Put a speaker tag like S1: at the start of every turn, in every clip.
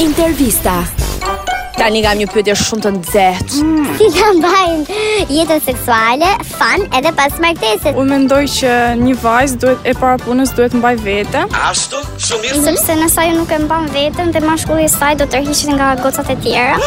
S1: Intervista.
S2: Tani kam një pyetje shumë të nxehtë.
S3: si ta mbajnë jetën seksuale, fan edhe pas martesit.
S4: Unë mendoj që një vajzë duhet e para punës duhet mbaj vete.
S5: Ashtu, shumë mirë.
S3: Sepse nëse ajo nuk e mban veten dhe mashkulli i saj do tërhiqet nga gocat e tjera.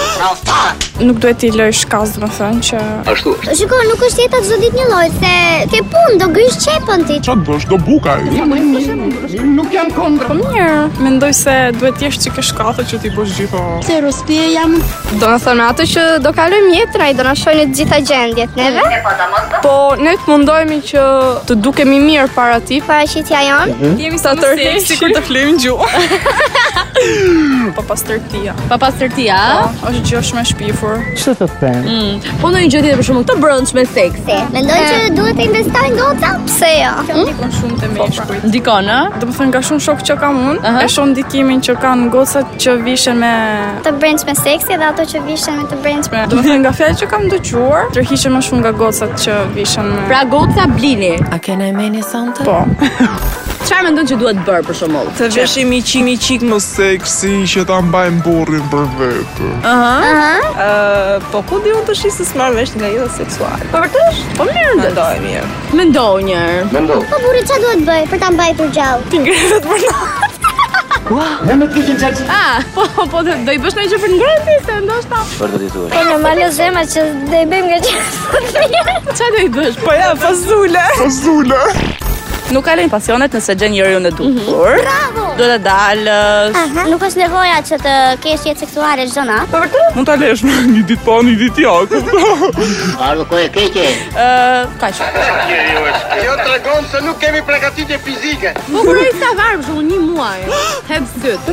S4: Nuk duhet t'i lësh shkas, domethënë që
S5: Ashtu është.
S3: Shiko, nuk është jeta çdo ditë një lloj, se ke punë, do grish çepën ti.
S6: Çfarë bësh? Do buka. Nuk jam kontra.
S4: po mirë, mendoj se duhet të jesh çike shkathë që ti bësh gjithë.
S7: Do në thënë atë që do kalojmë jetë,
S3: Pra i do na shohin të gjitha gjendjet neve,
S7: po ne të mundohemi që të dukemi mirë para ti.
S3: paraqitja jonë.
S4: Jemi sa
S2: më
S4: tërheq
S2: seksi.
S4: sikur të flim gjuhë. po pas tërtia.
S2: Pa pas tërtia, a?
S4: Është gjë shumë e shpifur.
S2: Po ndonjë gjë tjetër për shkakun të brëndshme seks.
S3: Mendoj që duhet të investojnë goca, Mm. pse jo?
S4: Ndikon shumë të meshkujt.
S2: Ndikon, a?
S4: Do të thënë nga shumë shok që kam unë,
S2: Aha.
S4: e shoh ndikimin që kanë gocat që vishen me
S3: Të brendsh me seksi dhe ato që vishen me të brendsh
S4: me- Do të thënë nga fjalë që kam dëgjuar, tërhiqen më shumë nga gocat që vishen me
S2: Pra goca blini.
S1: A can I meni something?
S4: po.
S2: Çfarë mendon që duhet bërë për shembull?
S8: Të veshim i qimi qik
S6: Më seksi që ta mbajmë burrin për vete.
S8: Po ku di unë të shisë së marrë vesh nga jeta seksuale Po vërtesh? Po mirë ndoj mirë
S2: Mendoj një herë.
S5: Mendo.
S3: Po burri çfarë duhet bëj për ta mbajtur gjallë?
S2: Ah, po po do do i bësh ndonjë gjë për ngrënësi se ndoshta.
S5: Çfarë do t'i thuash?
S3: Po normale zema që do i bëjmë nga gjallë.
S2: Çfarë do i bësh?
S8: Po ja, fazule
S6: Fazula.
S8: Nuk kalojnë pasionet nëse gjen njeriu në dukur
S3: Bravo!
S8: Do të dalësh
S3: Aha. Nuk është nevoja që të kesh jetë seksuale çdo natë.
S6: Mund ta lesh në një ditë pa, një ditë jo. ja. kupton?
S5: Ardhë kohë e keqe.
S8: Ë, kaq
S2: Po kuroj sa varg shumë një muaj. Hep syt.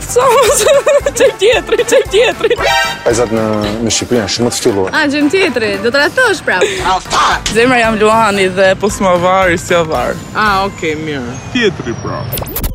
S8: Çaj tjetri, çaj tjetri
S9: Pajzat në, në Shqipëri janë shumë të ftyllur.
S2: A gjën tjetri, do të ratosh prapë.
S8: Zemra jam Luani dhe
S6: Po s'ma varë, s'ja varë.
S8: Ah, okay, mirë
S6: Tjetri pra.